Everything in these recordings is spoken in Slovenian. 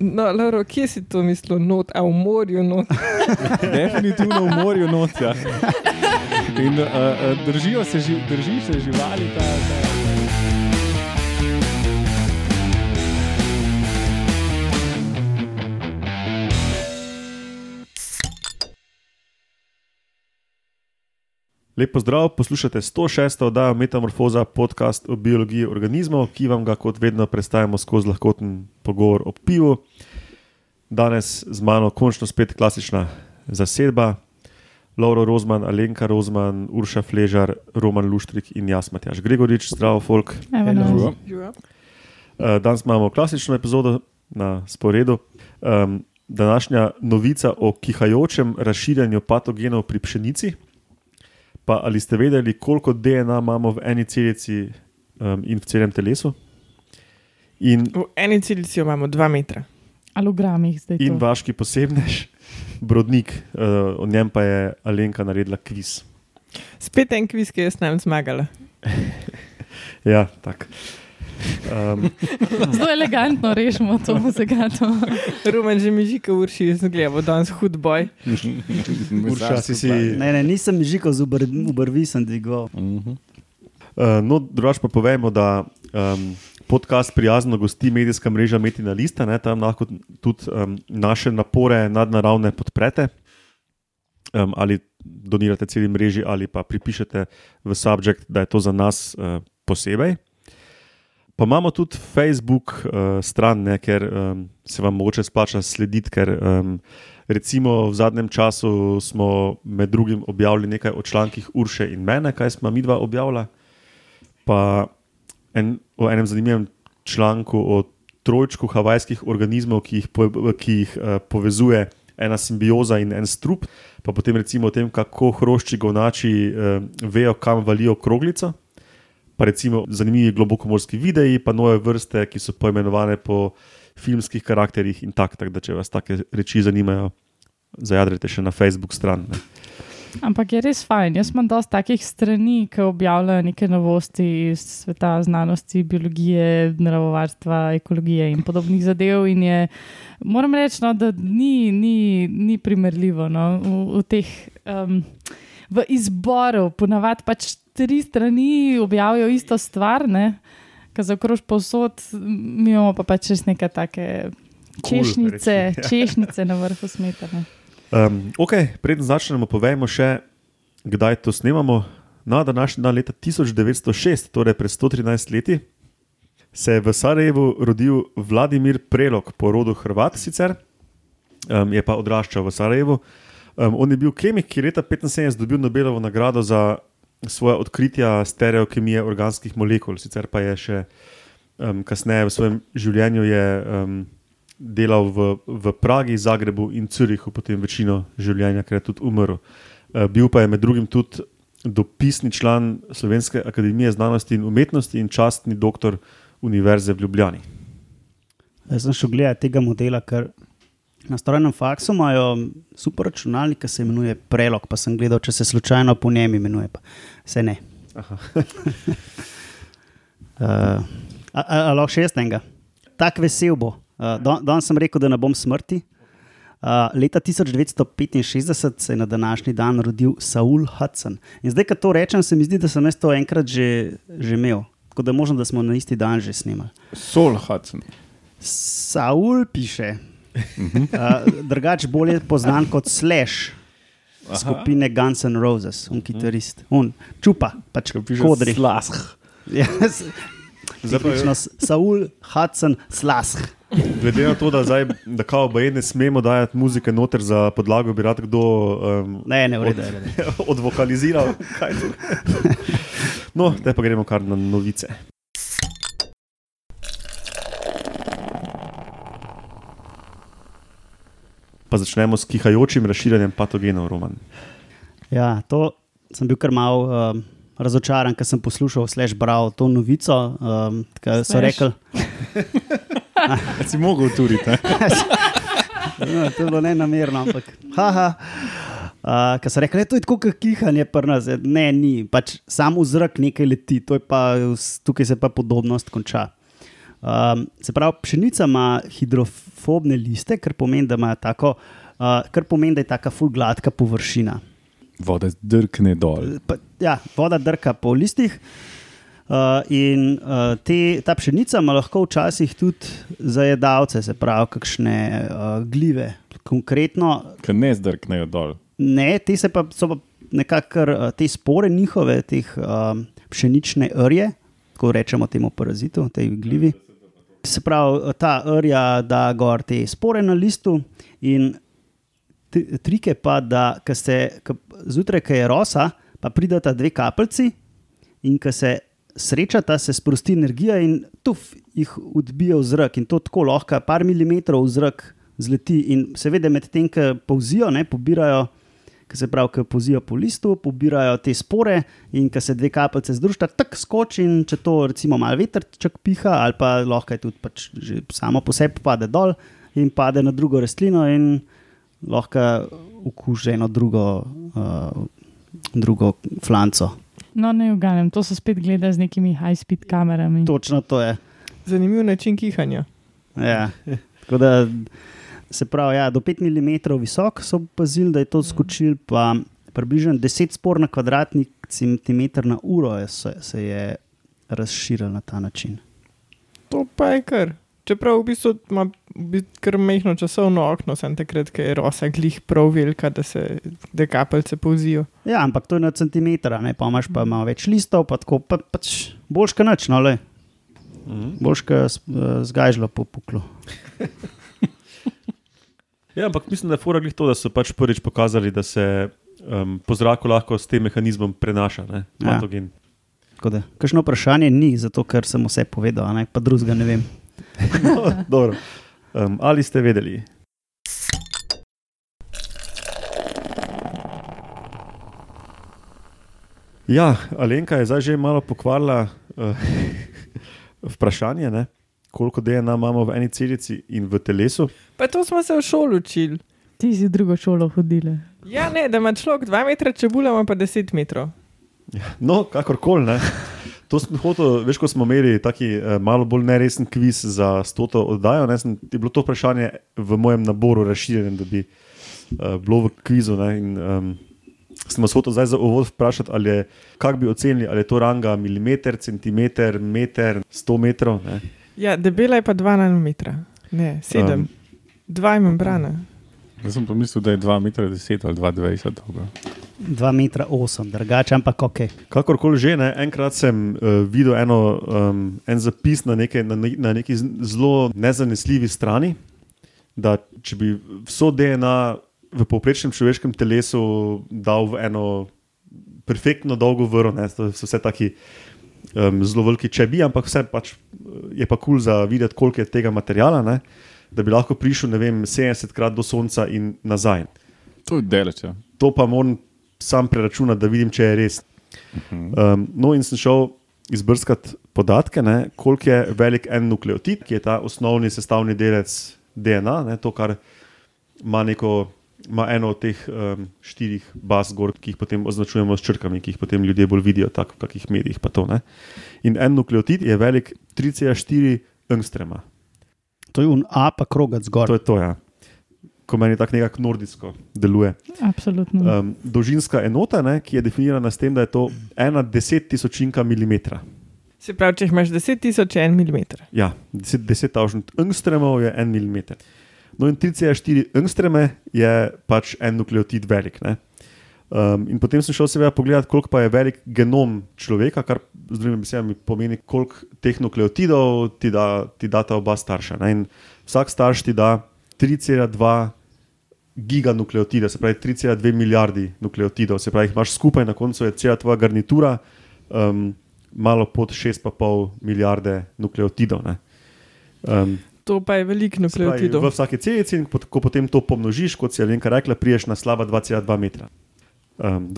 No, Lauro, kje si to mislil? Not, a v morju not. Definitivno v morju noča. In uh, uh, držijo se, ži, drži se živali. Ta, ta. Lepo zdrav, poslušate 106. oddajo Metamorfoza, podcast o biologiji organizmov, ki vam ga kot vedno predstavljamo skozi lahkoten pogovor o pivu. Danes z mano končno spet klasična zasedba. Lauro Rozman, Alenka Rozman, Urša Fležar, Roman Luštrik in jaz, Matjaš Gregorič, zdravo, folk. Evo, no. Živa. Eh, Danes imamo klasično epizodo na sporedu. Um, današnja novica o kihajočem razširjanju patogenov pri pšenici. Pa ali ste vedeli, koliko DNA imamo v eni celici um, in v celem telesu? In, V eni celici jo imamo dva metra. Ali v gramih zdaj. in to? vaški posebnež, Brodnik, uh, o njem pa je Alenka naredila kviz. Spet en kviz, ki je s nami zmagala. Ja, tako. Um, Zelo elegantno rešimo to muzikato. Roman že mi žika urši, jaz gledamo danes hud boj. Urša, si si- Ne, ne, nisem žikal z obr- obrvi, sem dvigal. Uh, no, drugač pa povemo, da um, podcast prijazno gosti medijska mreža Metina Lista, ne, tam lahko tudi um, naše napore nadnaravne podprete. Um, ali donirate celi mreži, ali pa pripišete v subjekt, da je to za nas uh, posebej. Pa imamo tudi Facebook uh, stran, ne, ker um, se vam mogoče splača slediti, ker um, recimo v zadnjem času smo med drugim objavili nekaj o člankih Urše in mene, kaj smo mi dva objavila pa en, o enem zanimivem članku o trojčku havajskih organizmov, ki jih, po, ki jih uh, povezuje ena simbioza in en strup, pa potem recimo o tem, kako hrošči govnači uh, vejo, kam valijo kroglico. Pa recimo zanimivi globokomorski videi, pa nove vrste, ki so poimenovane po filmskih karakterjih in tako. Tak, da če vas take reči zanimajo, zajadrite še na Facebook stran. Ne. Ampak je res fajn. Jaz imam dosti takih strani, ki objavljajo neke novosti iz sveta znanosti, biologije, naravovarstva, ekologije in podobnih zadev. In je, moram reči, no, da ni, ni, ni primerljivo no, v, v teh. Um, V izboru, ponavadi pač tri strani objavijo isto stvar, ne, ki zaokrož posod, mi imamo pa pač res neke take Cool, ja. češnice, reči. češnice na vrhu smetane. Um, ok, preden začnemo, povejmo še, kdaj to snemamo. Na današnji dan, leta 1906, torej pred 113 leti, se je v Sarajevu rodil Vladimir Prelog, po rodu Hrvat, sicer um, je pa odraščal v Sarajevu. Um, on je bil kemik, ki je leta 1975 dobil Nobelovo nagrado za svoje odkritja stereokemije organskih molekul, sicer pa je še um, kasneje v svojem življenju je, um, delal v, v Pragi, Zagrebu in Curihu, potem večino življenja, ker je tudi umrl. Uh, bil pa je med drugim tudi dopisni član Slovenske akademije znanosti in umetnosti in častni doktor Univerze v Ljubljani. Jaz sem šel gledati tega modela, ker na strojnem faksu imajo super računalnik, ki se imenuje Prelog, pa sem gledal, če se slučajno po njem imenuje. Pa. Se ne. uh, a, a, a lahko še šestnega. Tak vesel bo. Uh, Danes don sem rekel, da ne bom smrti. Uh, leta 1965 se je na današnji dan rodil Saul Hudson. In zdaj, ko to rečem, se mi zdi, da sem jaz to enkrat že, že imel. Tako da možno, da smo na isti dan že snimali. Sol Hudson. Saul piše. Mhm. Uh, drugač bolje poznan kot Slash. Skupine Guns N' Roses, Mhm. on kitarist, on čupa, pač kodri. Slash. Yes. Zdaj pa je- Tipično s- Saul, Hudson, Slash. Glede na to, da, zdaj, da kao oboje ne smemo dajati muzike noter za podlago, bi rad kdo um, Ne, ne, v redu. je, v redu. od, odvokaliziral. kaj to- No, te pa gremo kar na novice. Pa začnemo s kihajočim razširjanjem patogenov, Roman. Ja, to sem bil kar mal um, razočaran, ker sem poslušal, slash bral to novico. Um, ker so Slash. rekli, Ja, si mogel turiti. No, to je bilo ne namerno, ampak. Haha. Uh, Ker so rekli, da je to kot kihanje pri nas. Ja, Ne, ni, pač samo v zrak nekaj leti, to je pa, vs- tukaj se pa podobnost konča. Um, se pravi, pšenica ima hidrofobne liste, kar pomeni, da, ima tako, uh, kar pomeni, da je tako fulgladka površina. Voda drgne dol. Pa, ja, voda drka po listih. Uh, in uh, te, ta pšenica ima lahko včasih tudi zajedavce, se pravi, kakšne uh, glive. Konkretno, Ker ne zdrknejo dol. ne, te se pa so pa nekako kar, uh, te spore njihove, teh um, pšenične rje, tako rečemo temu parazitu, tej glivi. Se pravi, eh, ta rja da gor te spore na listu in tri- trik je pa, da ko se ko zjutraj, ko je rosa, pa pridata dve kapljici in ko se srečata, se sprosti energija in tuf jih odbija v zrak. In to tako lahko, par milimetrov v zrak zleti. In seveda, medtem ko povzijo, ne pobirajo. Ki se pravi, ki pozijo po listu, pobirajo te spore, in ko se dve kapljice združita, tako skoči. in Če to, recimo, malo veterček piha, ali pa lahko je tudi pač že samo po sebi pade dol in pade na drugo rastlino, in lahko okuži eno drugo, uh, drugo flanco. No, ne uganem, to so spet gleda z nekimi high-speed kamerami. Točno to je. Zanimiv način kihanja. Ja. Tako da, se pravi, ja, do 5 mm visok so opazili, da je to skočil, pa približno 10 spor na kvadratni centimeter na uro je, se, se je razširil na ta način. To pa je kar. Čeprav v bistvu ima v bistvu kar mehko časovno okno, sem takrat, ker je rosa glih prav velika, da se dekapelce povzijo. Ja, ampak to je na centimeter, ne pa imaš pa malo več listov, pa tako pa, pač boljš kot noč, no le. Mhm. Boljš kot zgajžlo po puklu. Ja, ampak mislim, da je fora glih to, da so pač prvič pokazali, da se um, po zraku lahko s tem mehanizmom prenaša, ne, Ja. patogen. Tako da, kakšno vprašanje ni, zato ker sem vse povedal, a ne, pa drugega ne vem. No, dobro. um, ali ste vedeli? Ja, Alenka je zdaj že malo pokvarila uh, vprašanje, ne? koliko DNA imamo v eni celici in v telesu. Pa to smo se v šoli učili. Ti si v drugo šolo hodila. Ja, ne, da ima človek 2 metra čebula, ima pa 10 metrov. No, kakorkoli. ne. To sem hotel, veš, ko smo imeli tako malo bolj neresen kviz za stoto oddajo, ne, sem, je bilo to vprašanje v mojem naboru razširjeno, da bi uh, bilo v kvizu. Ne, in, um, sem vas hotel zdaj za uvod vprašati, ali je, kako bi ocenili, ali je to ranga milimeter, centimeter, meter, sto metrov. Ne. Ja, debela je pa 2 nanometra, ne 7. Um. Um. Dva je membrana. Jaz sem pomislil, da je 2,10 m ali 2,20 m. 2 metra 8, drugače, ampak ok. Kakorkoli že, ne, enkrat sem uh, videl eno, um, en zapis na, neke, na, ne- na neki z- zelo nezanesljivi strani, da če bi vso DNA v povprečnem človeškem telesu dal v eno perfektno dolgo vrl, ne, to so vse taki um, zelo veliki čebi, ampak vse pač eh, je pa kul cool za videti, koliko je tega materijala, ne, da bi lahko prišel ne vem, 70 krat do sonca in nazaj. To je deleč. Ja. To pa moram sam preračunati, da vidim, če je res. Um, no, in sem šel izbrskati podatke, ne, koliko je velik en nukleotid, ki je ta osnovni sestavni delec DNA, ne, to, kar ima, neko, ima eno od teh um, štirih baz, gor, ki jih potem označujemo s črkami, ki jih potem ljudje bolj vidijo, tako v kakih medijih. pa To, ne. in en nukleotid je velik 3,4 angstrema. To je un A, pa krogac To zgor. je to, ja. ko meni tako nekako nordijsko deluje. Absolutno. Um, dolžinska enota, ne, ki je definirana s tem, da je to ena deset tisočinka milimetra. Se pravi, če jih imaš 10 tisoč, je en milimeter. Ja, 10.000 angstremov je 1 mm. No, in 3,4 angstreme je pač en nukleotid velik. ne. Um, in potem sem šel seveda pogledat, koliko pa je velik genom človeka, kar z drugimi besedami pomeni, koliko teh nukleotidov ti, da, ti data oba starša. Ne? In vsak starš ti da 3,2 giganukleotida, se pravi 3,2 milijardi nukleotidov, se pravi, jih imaš skupaj, na koncu je cela tvoja garnitura, um, malo pod 6,5 milijarde nukleotidov. ne. Um, To pa je veliko se pravi, v nukleotidov. vsaki celici, in pot- ko potem to pomnožiš, kot si je Lenka rekla, priješ na slaba 2,2 metra. Um,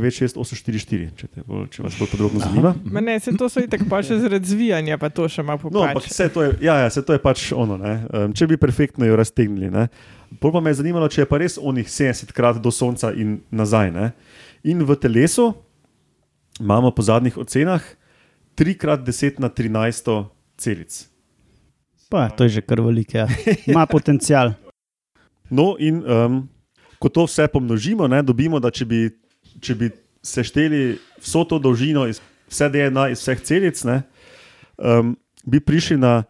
2,1996844, če, te bolj- če vas bolj podrobno zanima. Ma Ne, se to so itak pa še zaradi zvijanja, pa to še ima No, ampak popač. vse to je, ja, ja, vse to je pač ono. Um, če bi perfektno jo raztegnili. ne. Bolj pa me je zanimalo, če je pa res onih 70 krat do sonca in nazaj. Ne? In v telesu imamo po zadnjih ocenah 3 krat 10 na 13 celic. Pa, to je že kar velik. Ja. Ima potencial. No, in um, ko to vse pomnožimo, ne, dobimo, da če bi, če bi sešteli vso to dolžino, iz, vse DNA iz vseh celic, ne, um, bi prišli na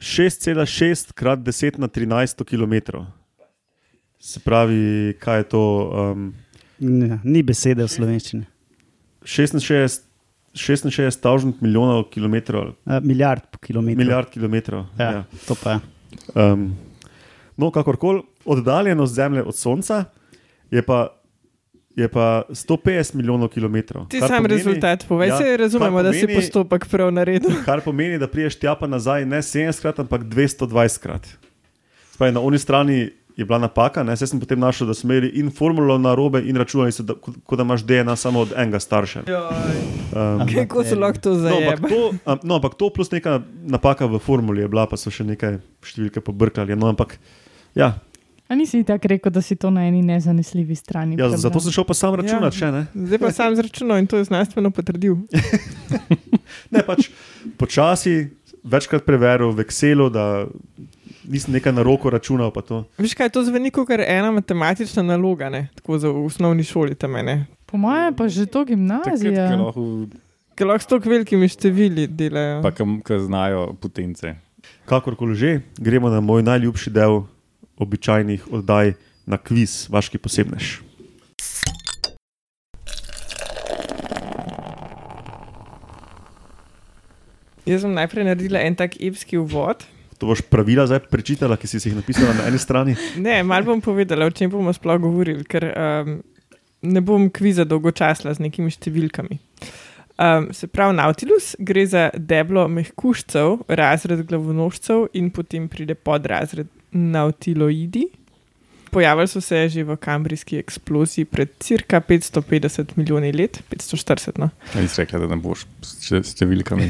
6,6 krat 10 na 13 km. Se pravi, kaj je to? Um, Ne, Ni besede v slovenščini. 66 tisoč milijonov kilometrov, ali Uh, milijard kilometrov. milijard kilometrov. Ja, ja. To pa je. Um, no, kakorkoli, oddaljenost Zemlje od Sonca je pa, je pa 150 milijonov kilometrov. Ti kar sam pomeni- rezultat povej, ja, ja, se razumemo, kar da si pomeni- postopek prav naredil. Kar pomeni, da priješ tja pa nazaj ne 70krat, ampak 220krat. Spravi, na oni strani je bila napaka, ne? jaz sem potem našel, da smo imeli in formulo na robe, in računali so, da, kot, kot da imaš DNA samo od enega starša. Um, Kako se lahko to No ampak, zajema? to, am- no, ampak to plus neka napaka v formuli je bila, pa so še nekaj številke pobrkali. No, ampak, ja, A nisi tako rekel, da si to na eni nezanesljivi strani? ja, prebral? zato sem šel pa sam računati Ja. še. Ne? Zdaj pa sam zračunal in to je znanstveno potrdil. Ne, pač počasi, večkrat preveril v Excelu, da nisem nekaj na roko računal. pa to. Veš kaj, to zveni kot ena matematična naloga, ne? tako za v osnovni šoli tam mene. Po mojem pa že to Takrat, gimnazija. ko lahko Ker lahko s tako velikimi števili delajo. Pa, ki znajo potence. Kakorkoli že, gremo na moj najljubši del običajnih oddaj na kviz, vaški posebnež. Jaz sem najprej naredila en tak epski uvod. To boš pravila zdaj prečitala, ki si si jih napisala na eni strani. Ne, malo bom povedala, o čem bomo sploh govorili, ker um, ne bom kviza dolgočasla z nekimi številkami. Um, se pravi, Nautilus gre za deblo mehkužcev, razred glavonožcev in potem pride pod razred nautiloidi. Pojavili so se že v kambrijski eksploziji pred cirka 550 milijoni let, 540. No. Nisi Ja, rekla, da ne boš s št- s številkami.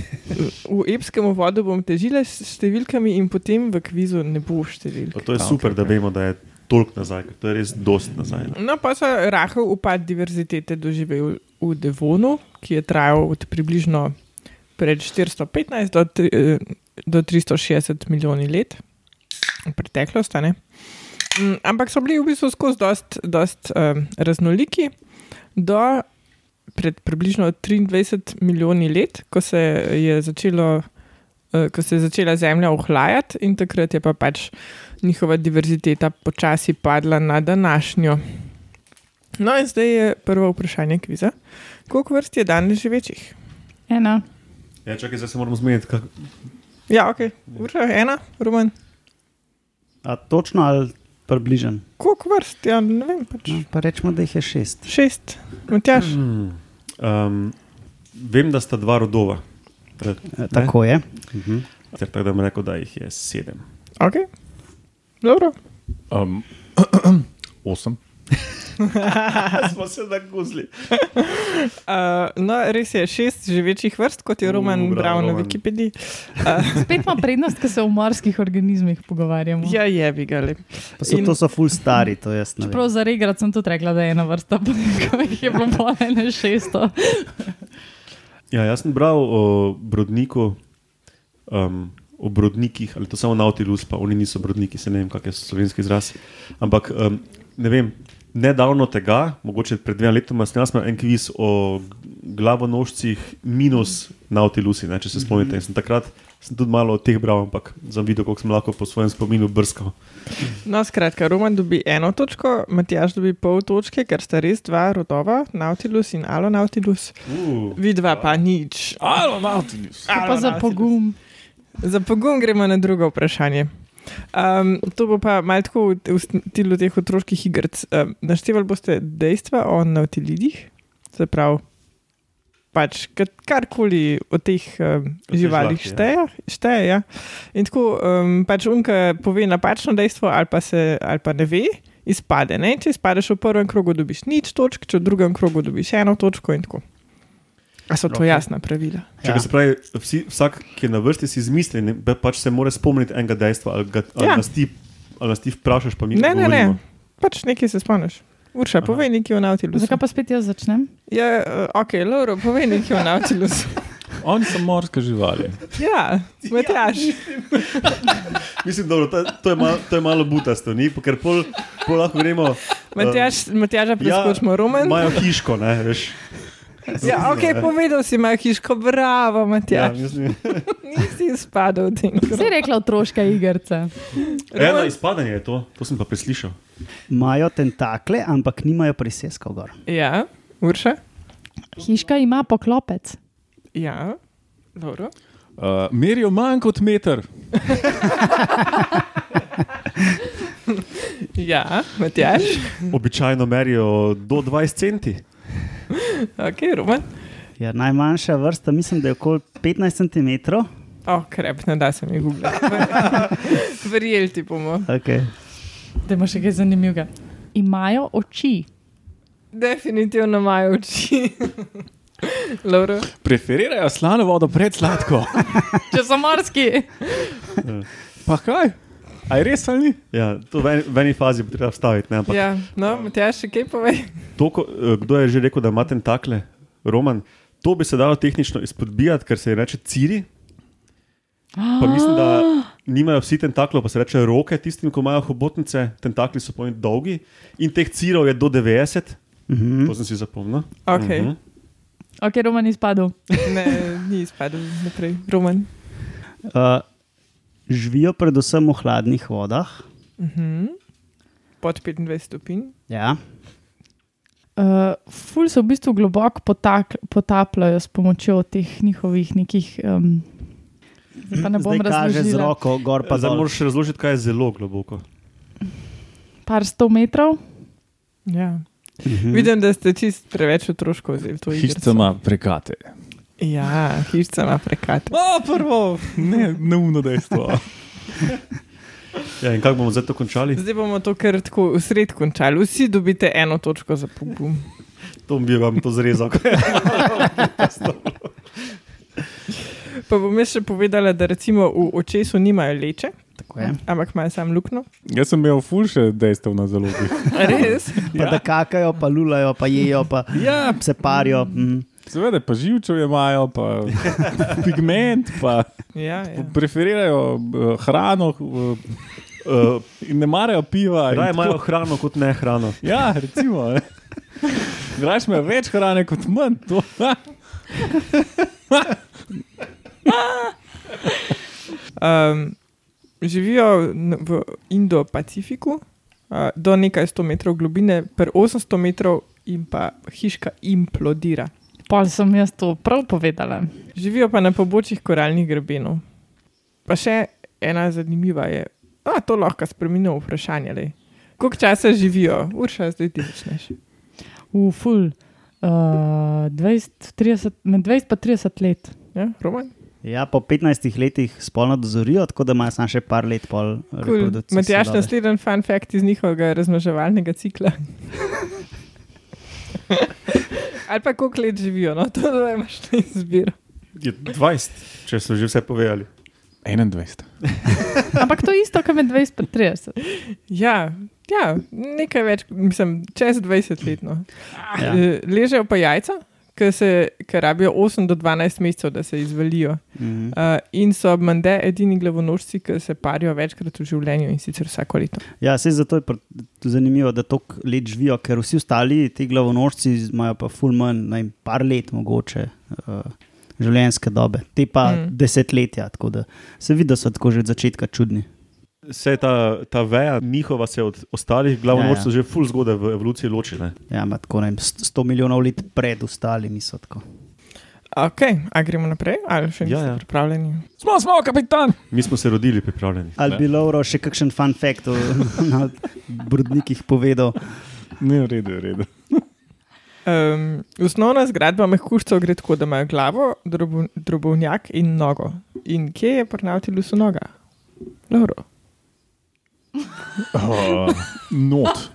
V epskem uvodu bom težila s številkami in potem v kvizu ne bo številk. Pa to je Ja, super, okej, da okej. vemo, da je toliko nazaj, ker to je res dost nazaj. No, pa so rahel upad diverzitete doživel v Devonu, ki je trajal od približno pred 415 do, tri- eh, do 360 milijoni let, v preteklost. a ne. Mm, Ampak so bili v bistvu skozi dost, dost um, raznoliki do pred približno 23 milijoni let, ko se je začelo. eh, Ko se je začela Zemlja ohlajati, in takrat je pa pač njihova diverziteta počasi padla na današnjo. No, in zdaj je prvo vprašanje kviza. Koliko vrst je danes živečih? Ena. Ja, čakaj, zdaj se moramo zmeniti. Kak... Ja, ok, ura ena, rumen. A točno ali približen? Koliko vrst? Ja, ne vem, pač No, pa rečemo, da jih je šest. šest, matjaš. Hmm. Um, vem, da sta dva rodova. Da- E, Tako je. Ter tako da bom rekel, da jih je sedem. Ok, dobro. Um, osem. Smo se naguzli. Uh, no, res je šest živečih vrst, kot je Roman U, uh, bravo, Brown na Roman. Wikipediji. Spet ima prednost, ker se o morskih organizmih pogovarjamo. Ja, je bi ga le. Pa so, In- to so ful stari, to jaz ne Čeprav vem. za regrat sem tudi rekla, da je ena vrsta, pa ko jih je bilo pole na šesto. Ja, jaz sem bral o brodniku, um, o brodnikih, ali to samo Nautilus, pa oni niso brodniki, se ne vem, kak je slovenski izraz. Ampak um, ne vem, nedavno tega, mogoče pred dvema letoma, sem jaz imel en kviz o glavonožcih minus Nautilusi, ne, če se spomnite. In sem takrat sem tudi malo o teh bral, ampak sem videl, koliko sem lahko po svojem spominu brskal. No, skratka, Roman dobi eno točko, Matjaš dobi pol točke, ker sta res dva rodova, Nautilus in Alonautilus. Uh, Vidva pa nič. Alo, Nautilus. To pa za pogum. Za pogum gremo na drugo vprašanje. Um, to bo pa malo tako v, v stilu teh otroških iger. Um, naštevali boste dejstva o navtilidih, se pravi, pač, kad- karkoli o teh um, O teh živalih živahih, ja. šteje. šteje ja. In tako um, pač unka pove napačno dejstvo, ali pa, se, ali pa ne ve, izpade. Ne? Če izpadeš v prvem krogu, dobiš nič točk, če v drugem krogu dobiš eno točko in tako. A so to Okej. jasna pravila? Če ja. Ja. se pravi, vsi, vsak, ki je na vrsti, si izmisli, ne, pa- pač se mora spomniti enega dejstva. Ali, ga, ali, Ja. ja. nas, ti, ali nas ti vprašaš, pa mi Ne, ne, ne, odgovorimo. pač nekaj se spomniš. Urša, Aha. povej nekaj o Nautilusu. Zakaj pa spet jaz začnem? Ja, eh, ok, Lauro, povej nekaj o Nautilusu. Oni so morske živali. Ja, Matjaš. Mislim, da to, to je malo- to je malo butasto, ni? ker pol, pol lahko gremo. Matjaš, Um, Matjaža ja, preskočimo, Roman. Imajo hiško, ne veš. Ja, ok, povedal si, ima hiško, bravo, Ja, Matjaš. mislim, Ja. Nisi izpadel v tem krogu. Si rekla otroška igrica. eno izpadanje je to, to sem pa preslišal. Imajo tentakle, ampak nimajo priseskov gor. Ja, Urša. Hiška ima poklopec. Ja, dobro. Uh, merijo manj kot meter. Ja, Matjaš. Običajno merijo do 20 centi. Ok, Roman. Ja, najmanjša vrsta, mislim, da je okoli 15 cm. O, oh, krep, ne da se mi googlati. Verjeli ti bomo. Okay. Da imaš še kaj zanimivega. Imajo oči. Definitivno imajo oči. Laura. Preferirajo slano vodo pred sladko. Če so morski. Pa kaj? Aj res ali ni? Ja, to v eni, v eni fazi bo treba vstaviti. Ne? Ampak ja. Ja, no, Matjaš, še kaj povej? to, ko, eh, kdo je že rekel, da ima tentakle, Roman, to bi se dalo tehnično izpodbijati, ker se jim reče ciri. Pa mislim, da nimajo vsi tentaklo, pa se reče roke tistim, ki imajo hobotnice, tentakli so pomeni dolgi in teh cirov je do 90, Mhm. to sem si zapomnil. Okej. Mhm. Ok, Roman je izpadel. Ne, ni izpadel naprej. Roman. Uh, živijo predvsem v hladnih vodah. Mhm. Pod 25 stopinj. Ja. Uh, ful se v bistvu globoko potak, potapljajo s pomočjo teh njihovih nekih. Um, zdaj pa ne bom Zdaj kaže z razložila. roko, gor pa Pa zdaj dol. moraš razložiti, kaj je zelo globoko. Par sto metrov. Ja. Mhm. Vidim, da ste čist preveč otroško vzeli to Hišica igrico. ima prekate. Ja, hišica ima prekat. O, prvo, ne, neumno dejstvo. Ja, in kako bomo zdaj to končali? Zdaj bomo to kar tako v sred končali. Vsi dobite eno točko za pogum. To bi vam to zrezal. Pa bom jaz še povedala, da recimo v očesu nimajo leče, Tako je. ampak imajo samo luknjo. Jaz sem imel ful še dejstev na zalogi. Res? Pa da kakajo, pa lulajo, pa jejo, pa Ja, se parijo. Mm. seveda, pa živčevje imajo, pa pigment, pa Ja, ja. preferirajo eh, hrano eh, Uh, in ne marajo piva. in tako. Raje imajo hrano kot ne hrano. Ja, recimo. ne. Raje imajo več hrane kot manj. To, Um, živijo n- v Indo-Pacifiku, uh, do nekaj 100 metrov globine, per 800 metrov in pa hiška implodira. Pol sem jaz to prav povedala. Živijo pa na pobočjih koralnih grebenov. Pa še ena zanimiva je, da to lahko spremenimo v vprašanje. lej. Koliko časa živijo, urša zdaj ti začneš? V ful. Uh, 20, 30, med 20 in 30 let. Ja, Roman? Ja, po 15 letih spolno dozorijo, tako da imajo samo še par let pol Cool. reprodukcije. Matjaš, dobe. naslednji fun fact iz njihovega razmnoževalnega cikla. Ali pa koliko let živijo, no to da imaš na izbiro. Je 20, če so že vse povedali. 21. Ampak to je isto, kot med 20 in 30. Ja, ja, nekaj več, mislim, čez 20 let. No. Ah. Ja. Eh, Ležejo pa jajca, ker se- ker rabijo 8 do 12 mesecev, da se izvalijo. Mhm. Uh, in so mende edini glavonožci, ki se parijo večkrat v življenju in sicer vsako leto. Ja, se zato je pr- zanimivo, da toliko let živijo, ker vsi ostali ti glavonožci imajo pa ful manj, ne vem, par let mogoče. Uh, Življenjske dobe, te pa mm. Mm. desetletja, tako da se vidi, da so tako že od začetka čudni. Vse ta, ta veja, njihova se od ostalih glavonožcev ja, ja. že full zgodaj v evoluciji loči. Ne? Ja, ima tako ne vem, st- 100 milijonov let pred ostalimi so tako. Ok, a gremo naprej, ali še Ja, niste ja, ja. ja. pripravljeni? Smo, smo, kapitan. Mi smo se rodili pripravljeni. Ali bi Lauro še kakšen fun fact o na brudnikih povedal? Ne, v redu, v redu. Um, osnovna zgradba mehkužcev gre tako, da imajo glavo, drobo, drobovnjak in nogo. In kje je pri Nautilusu noga? Loro. Oh, not.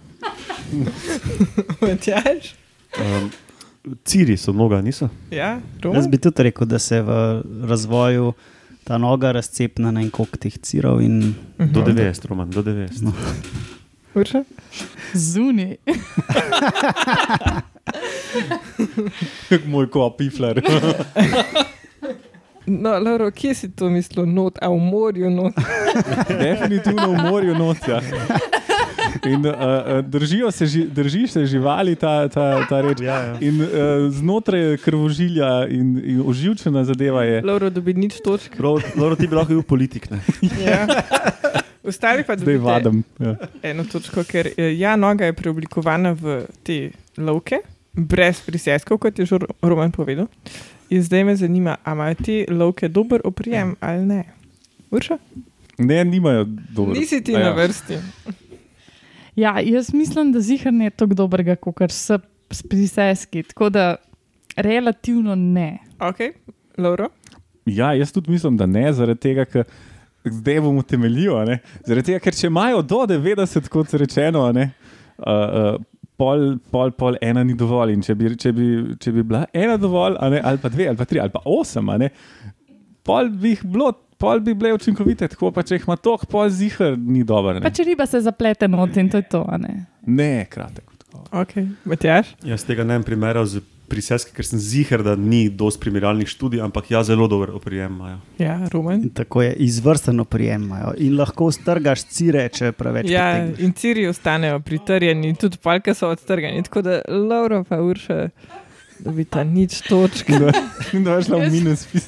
Matjaž? Um, ciri so mnoga, niso. Ja, Jaz Roman? bi tudi rekel, da se v razvoju ta noga razcepna na en kok teh cirov in Do 90, Roman, do 90. Urša? Zunaj. Moj ko, pifler. No, Laro, kje si to mislil, not, a v morju? Not? Definitivno v morju nočja. In, uh, uh, držijo se, ži- drži se živali, ta, ta, ta reč. Ja, ja. In uh, znotraj krvožilja in, in oživčena zadeva je. Laro, dobi nič točk. Dobro, ti bi lahko bil politik. Ne? Ja. Ostali pa Zdaj dobite vadim. Ja. eno točko, ker eh, ja, noga je preoblikovana v te lovke, brez priseskov, kot je že Ro- Roman povedal. In zdaj me zanima, ali imajo te lovke dober Ja. oprijem ali ne. Urša? Ne, nimajo dobro. Nisi ti A ja. na vrsti. Ja, jaz mislim, da zihar ne je tako dobrega, kot s s priseski. Tako da relativno ne. Ok, Lauro. Ja, jaz tudi mislim, da ne, zaradi tega, ker zdaj bomo temeljili. a ne. Zaradi tega, ker če imajo do 90, kot rečeno, a ne, uh, uh, pol, pol, pol ena ni dovolj. In če bi, če bi, če bi bila ena dovolj, a ne, ali pa dve, ali pa tri, ali pa osem, a ne, pol bi jih bilo. Pol bi bile učinkovite, tako pa če jih ima toliko, pol zihar ni dobro. Pa Ne, če riba se zaplete not in to je to. a ne. ne kratek. odgovor. Ok, Matjaš. Jaz tega ne bi primerjal z priseski, ker sem zihar, da ni dosti primerjalnih študij, ampak ja, zelo dobro oprijem imajo. Ja, Roman. In tako je izvrstno prijemajo in lahko strgaš cire, če preveč. Ja, potegneš. in ciri ostanejo pritrjeni, tudi palke so odtrgani. Tako da Laura pa Urša dobita nič točk. In da je šla v minus. pis-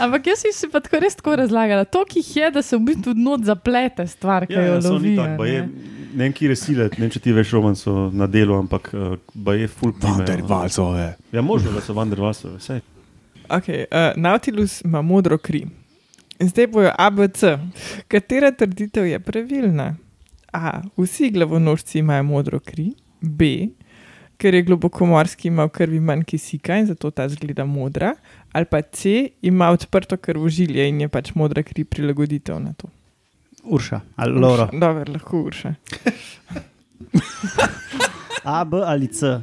Ampak jaz sem si pa tako res tako razlagala. To, ki jih je, da se v bistvu not zaplete stvar, ki Ja, jo ja, so lovi. ni a tako, baje, ne. ne vem, kje resile, ne vem, če ti veš, Roman so na delu, ampak eh, baje full primejo. Vandervalsove. Ja, možno, da so vandervalsove, vse. Okay, uh, Nautilus ima modro kri. In zdaj bojo ABC. Katera trditev je pravilna? A. Vsi glavonožci imajo modro kri. B. Ker je globokomorski, ima v krvi manj kisika in zato ta zgleda modra. Ali pa C. Ima odprto krvožilje in je pač modra kri prilagoditev na to. Urša ali Loro. Urša, Dobro, lahko urša. A, B ali C.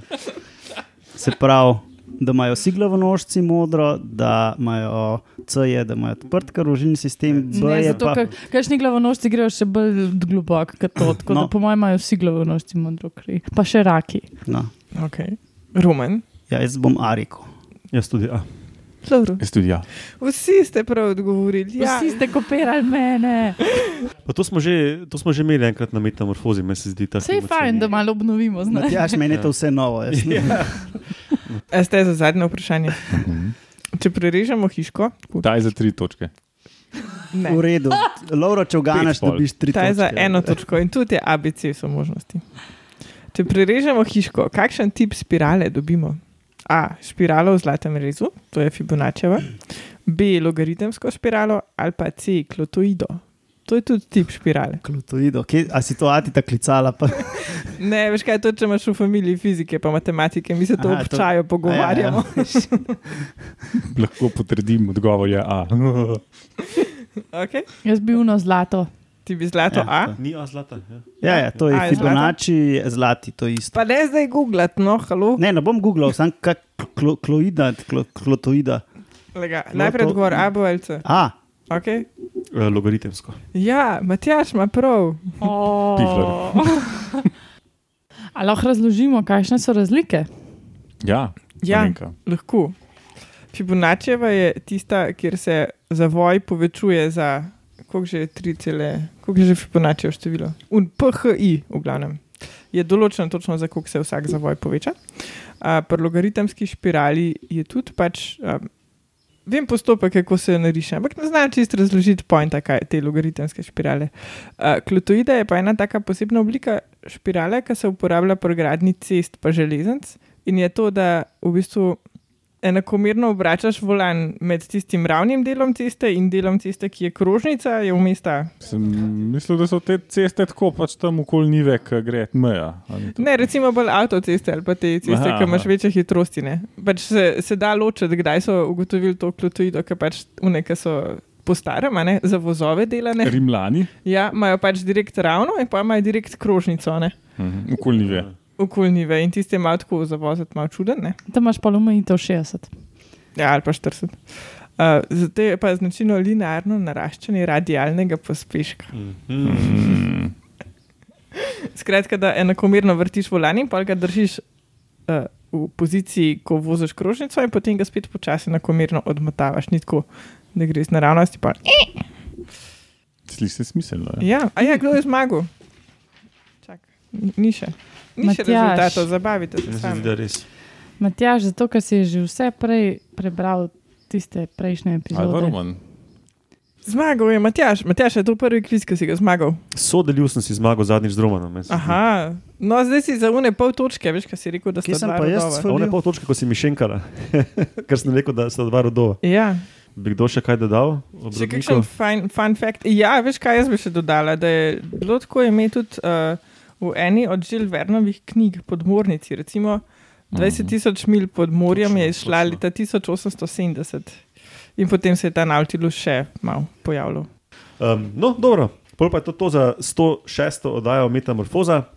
Se pravi, da imajo vsi glavonožci modro, da imajo C, je, da imajo odprt karožni sistem, B Ne, je zato, pa. ker kakšni glavonožci grejo še bolj globoko, kot to. Tako no. da, No. po mojem, imajo vsi glavonožci modro kri, pa še raki. No. Okay. Roman. Ja, jaz bom Ariko. Jaz tudi. A. Dobro. Jaz tudi ja. Vsi ste prav odgovorili. Ja. Ja. Vsi ste kopirali mene. Ja, Pa To, smo že, to smo že imeli enkrat na metamorfozi, meni se zdi ta. Vse je fajn, da malo obnovimo. znaš. Matjaž, meni Ja. je to vse novo. jaz ne- A ste za zadnje vprašanje? Mhm. Če prerežemo hiško, Daj za tri točke. ne. V redu. Lauro, če uganeš, Pet pol. dobiš tri Ta je za točke. eno točko in tudi je ABC so možnosti. Če prerežemo hiško, kakšen tip spirale dobimo? A. Spiralo v zlatem rezu, to je Fibonacciva, B. Logaritemsko spiralo ali pa C. Klotoido. To je tudi tip spirale. Klutoido. Kje, a si to Atita klicala? Pa, Ne, veš kaj, to če imaš v familiji fizike pa matematike, mi se to Aha, to- občajo, pogovarjamo. Ja, ja. Lahko potrdim, odgovor je A. Okay. Jaz bi uno zlato. Ti bi zlato Ja, A, to. Ni A zlata. Ja. Ja, ja, to A, je je Fibonacci, zlati, to je isto. pa ne zdaj googlati, no, halo. Ne, ne bom googlal, sem kak klo, kloida, klo, klotoida. Lega, No, najprej to- odgovor A, B ali C. A, Okay. Eh, Logaritemsko. Ja, Matjaž ima prav. Pifler. A lahko razložimo, kakšne so razlike? Ja, Ja. Alenka. Lahko. Fibonacciva je tista, kjer se zavoj povečuje za, koliko že je 3, cele- koliko je že Fibonaccijev število. Un PHI, v glavnem. Je določeno točno, za koliko se vsak zavoj poveča. A, pri logaritemski špirali je tudi pač. A, Vem postopek, kako se jo nariše, ampak ne znam čist razložiti pojma te logaritemske špirale. Uh, Klotoida je pa ena taka posebna oblika špirale, ki se uporablja pri gradnji cest pa železnic, In je to, da v bistvu enakomerno obračaš volan med tistim ravnim delom ceste in delom ceste, ki je krožnica, je vmes ta. Sem mislil, da so te ceste tako, pač tam okoli nive, ki gre meja. a ni to? Ne, recimo bolj avtoceste ali pa te ceste, Aha, ki imaš aha. večje hitrosti. Ne. Pač se, se da ločiti, kdaj so ugotovili to klotoido, ker pač uneke so. Po starem, a ne, za vozove delane. Rimljani, Ja, imajo pač direkt ravno, in pa imajo direkt krožnico, a ne, mhm, okoli nive. okoljnive. In tiste malo tako zavoziti, malo čuden, ne. Tam imaš pa lomejitev 60. Ja, ali pa 40. Uh, zato je pa značilno linearno naraščanje radialnega pospeška. Mm. Skratka, da enakomerno vrtiš volan in pa ga držiš uh, v v poziciji, ko voziš krožnico, in potem ga spet počasi enakomerno odmotavaš, ni tako, da greš naravnost. Pa... Sliši se smiselno. Ja. Ja, a ja, kdo je zmagal? Čak, ni- ni še. Ni še Matjaž. rezultatov, zabavite se Mislim, sami. da res. Matjaž, zato ker si že vse prej prebral tiste prejšnje Alva epizode. Roman. Zmagal je Matjaž, Matjaž je to prvi kviz, ki si ga zmagal. Sodelil sem si zmago zadnjič z Romanom. jaz sem- Aha, no zdaj si za une pol točke, veš, kaj si rekel, da si Kje sem pa jaz A One pol točke, ko si mi šenkala, ker sem rekel, da sta dva rodova. Ja, Bi kdo še kaj dodal? Ob še Rudniku? kakšen fun, fun fact. Ja, veš kaj, jaz bi še dodala, da je bilo tako ime tudi uh, v eni od Žil Vernovih knjig podmornici, recimo 20 tisoč mil pod morjem Mhm. Točno, je izšla točno. leta 1870 in potem se je ta Nautilus še malo pojavljal. Um, no, dobro, pol pa je to, to za 106. oddajo Metamorfoza.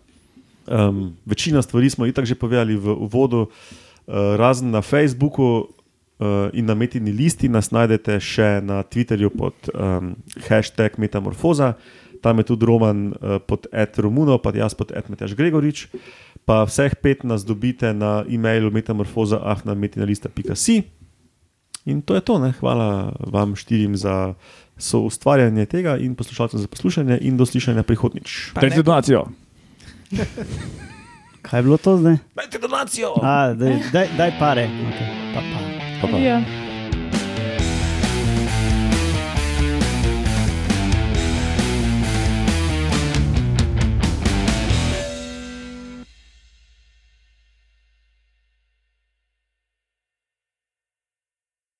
Um, večina stvari smo itak že povedali v uvodu, uh, razen na Facebooku uh, in na metini listi, nas najdete še na Twitterju pod um, hashtag Metamorfoza, tam je tudi Roman uh, pod Ed Romuno, pa jaz pod Ed Matjaš Gregorič. Pa vseh pet nas dobite na e-mailu metamorfoza.afnametinalista.si. In to je to, ne? hvala vam štirim za soustvarjanje tega in poslušalcem za poslušanje, in do slišanja prihodnjič. Pa ne- Dajte donacijo. Kaj je bilo to zdaj? Dajte donacijo! A, daj, daj, daj pare. Okay. Pa, pa. Pa, pa. Ja.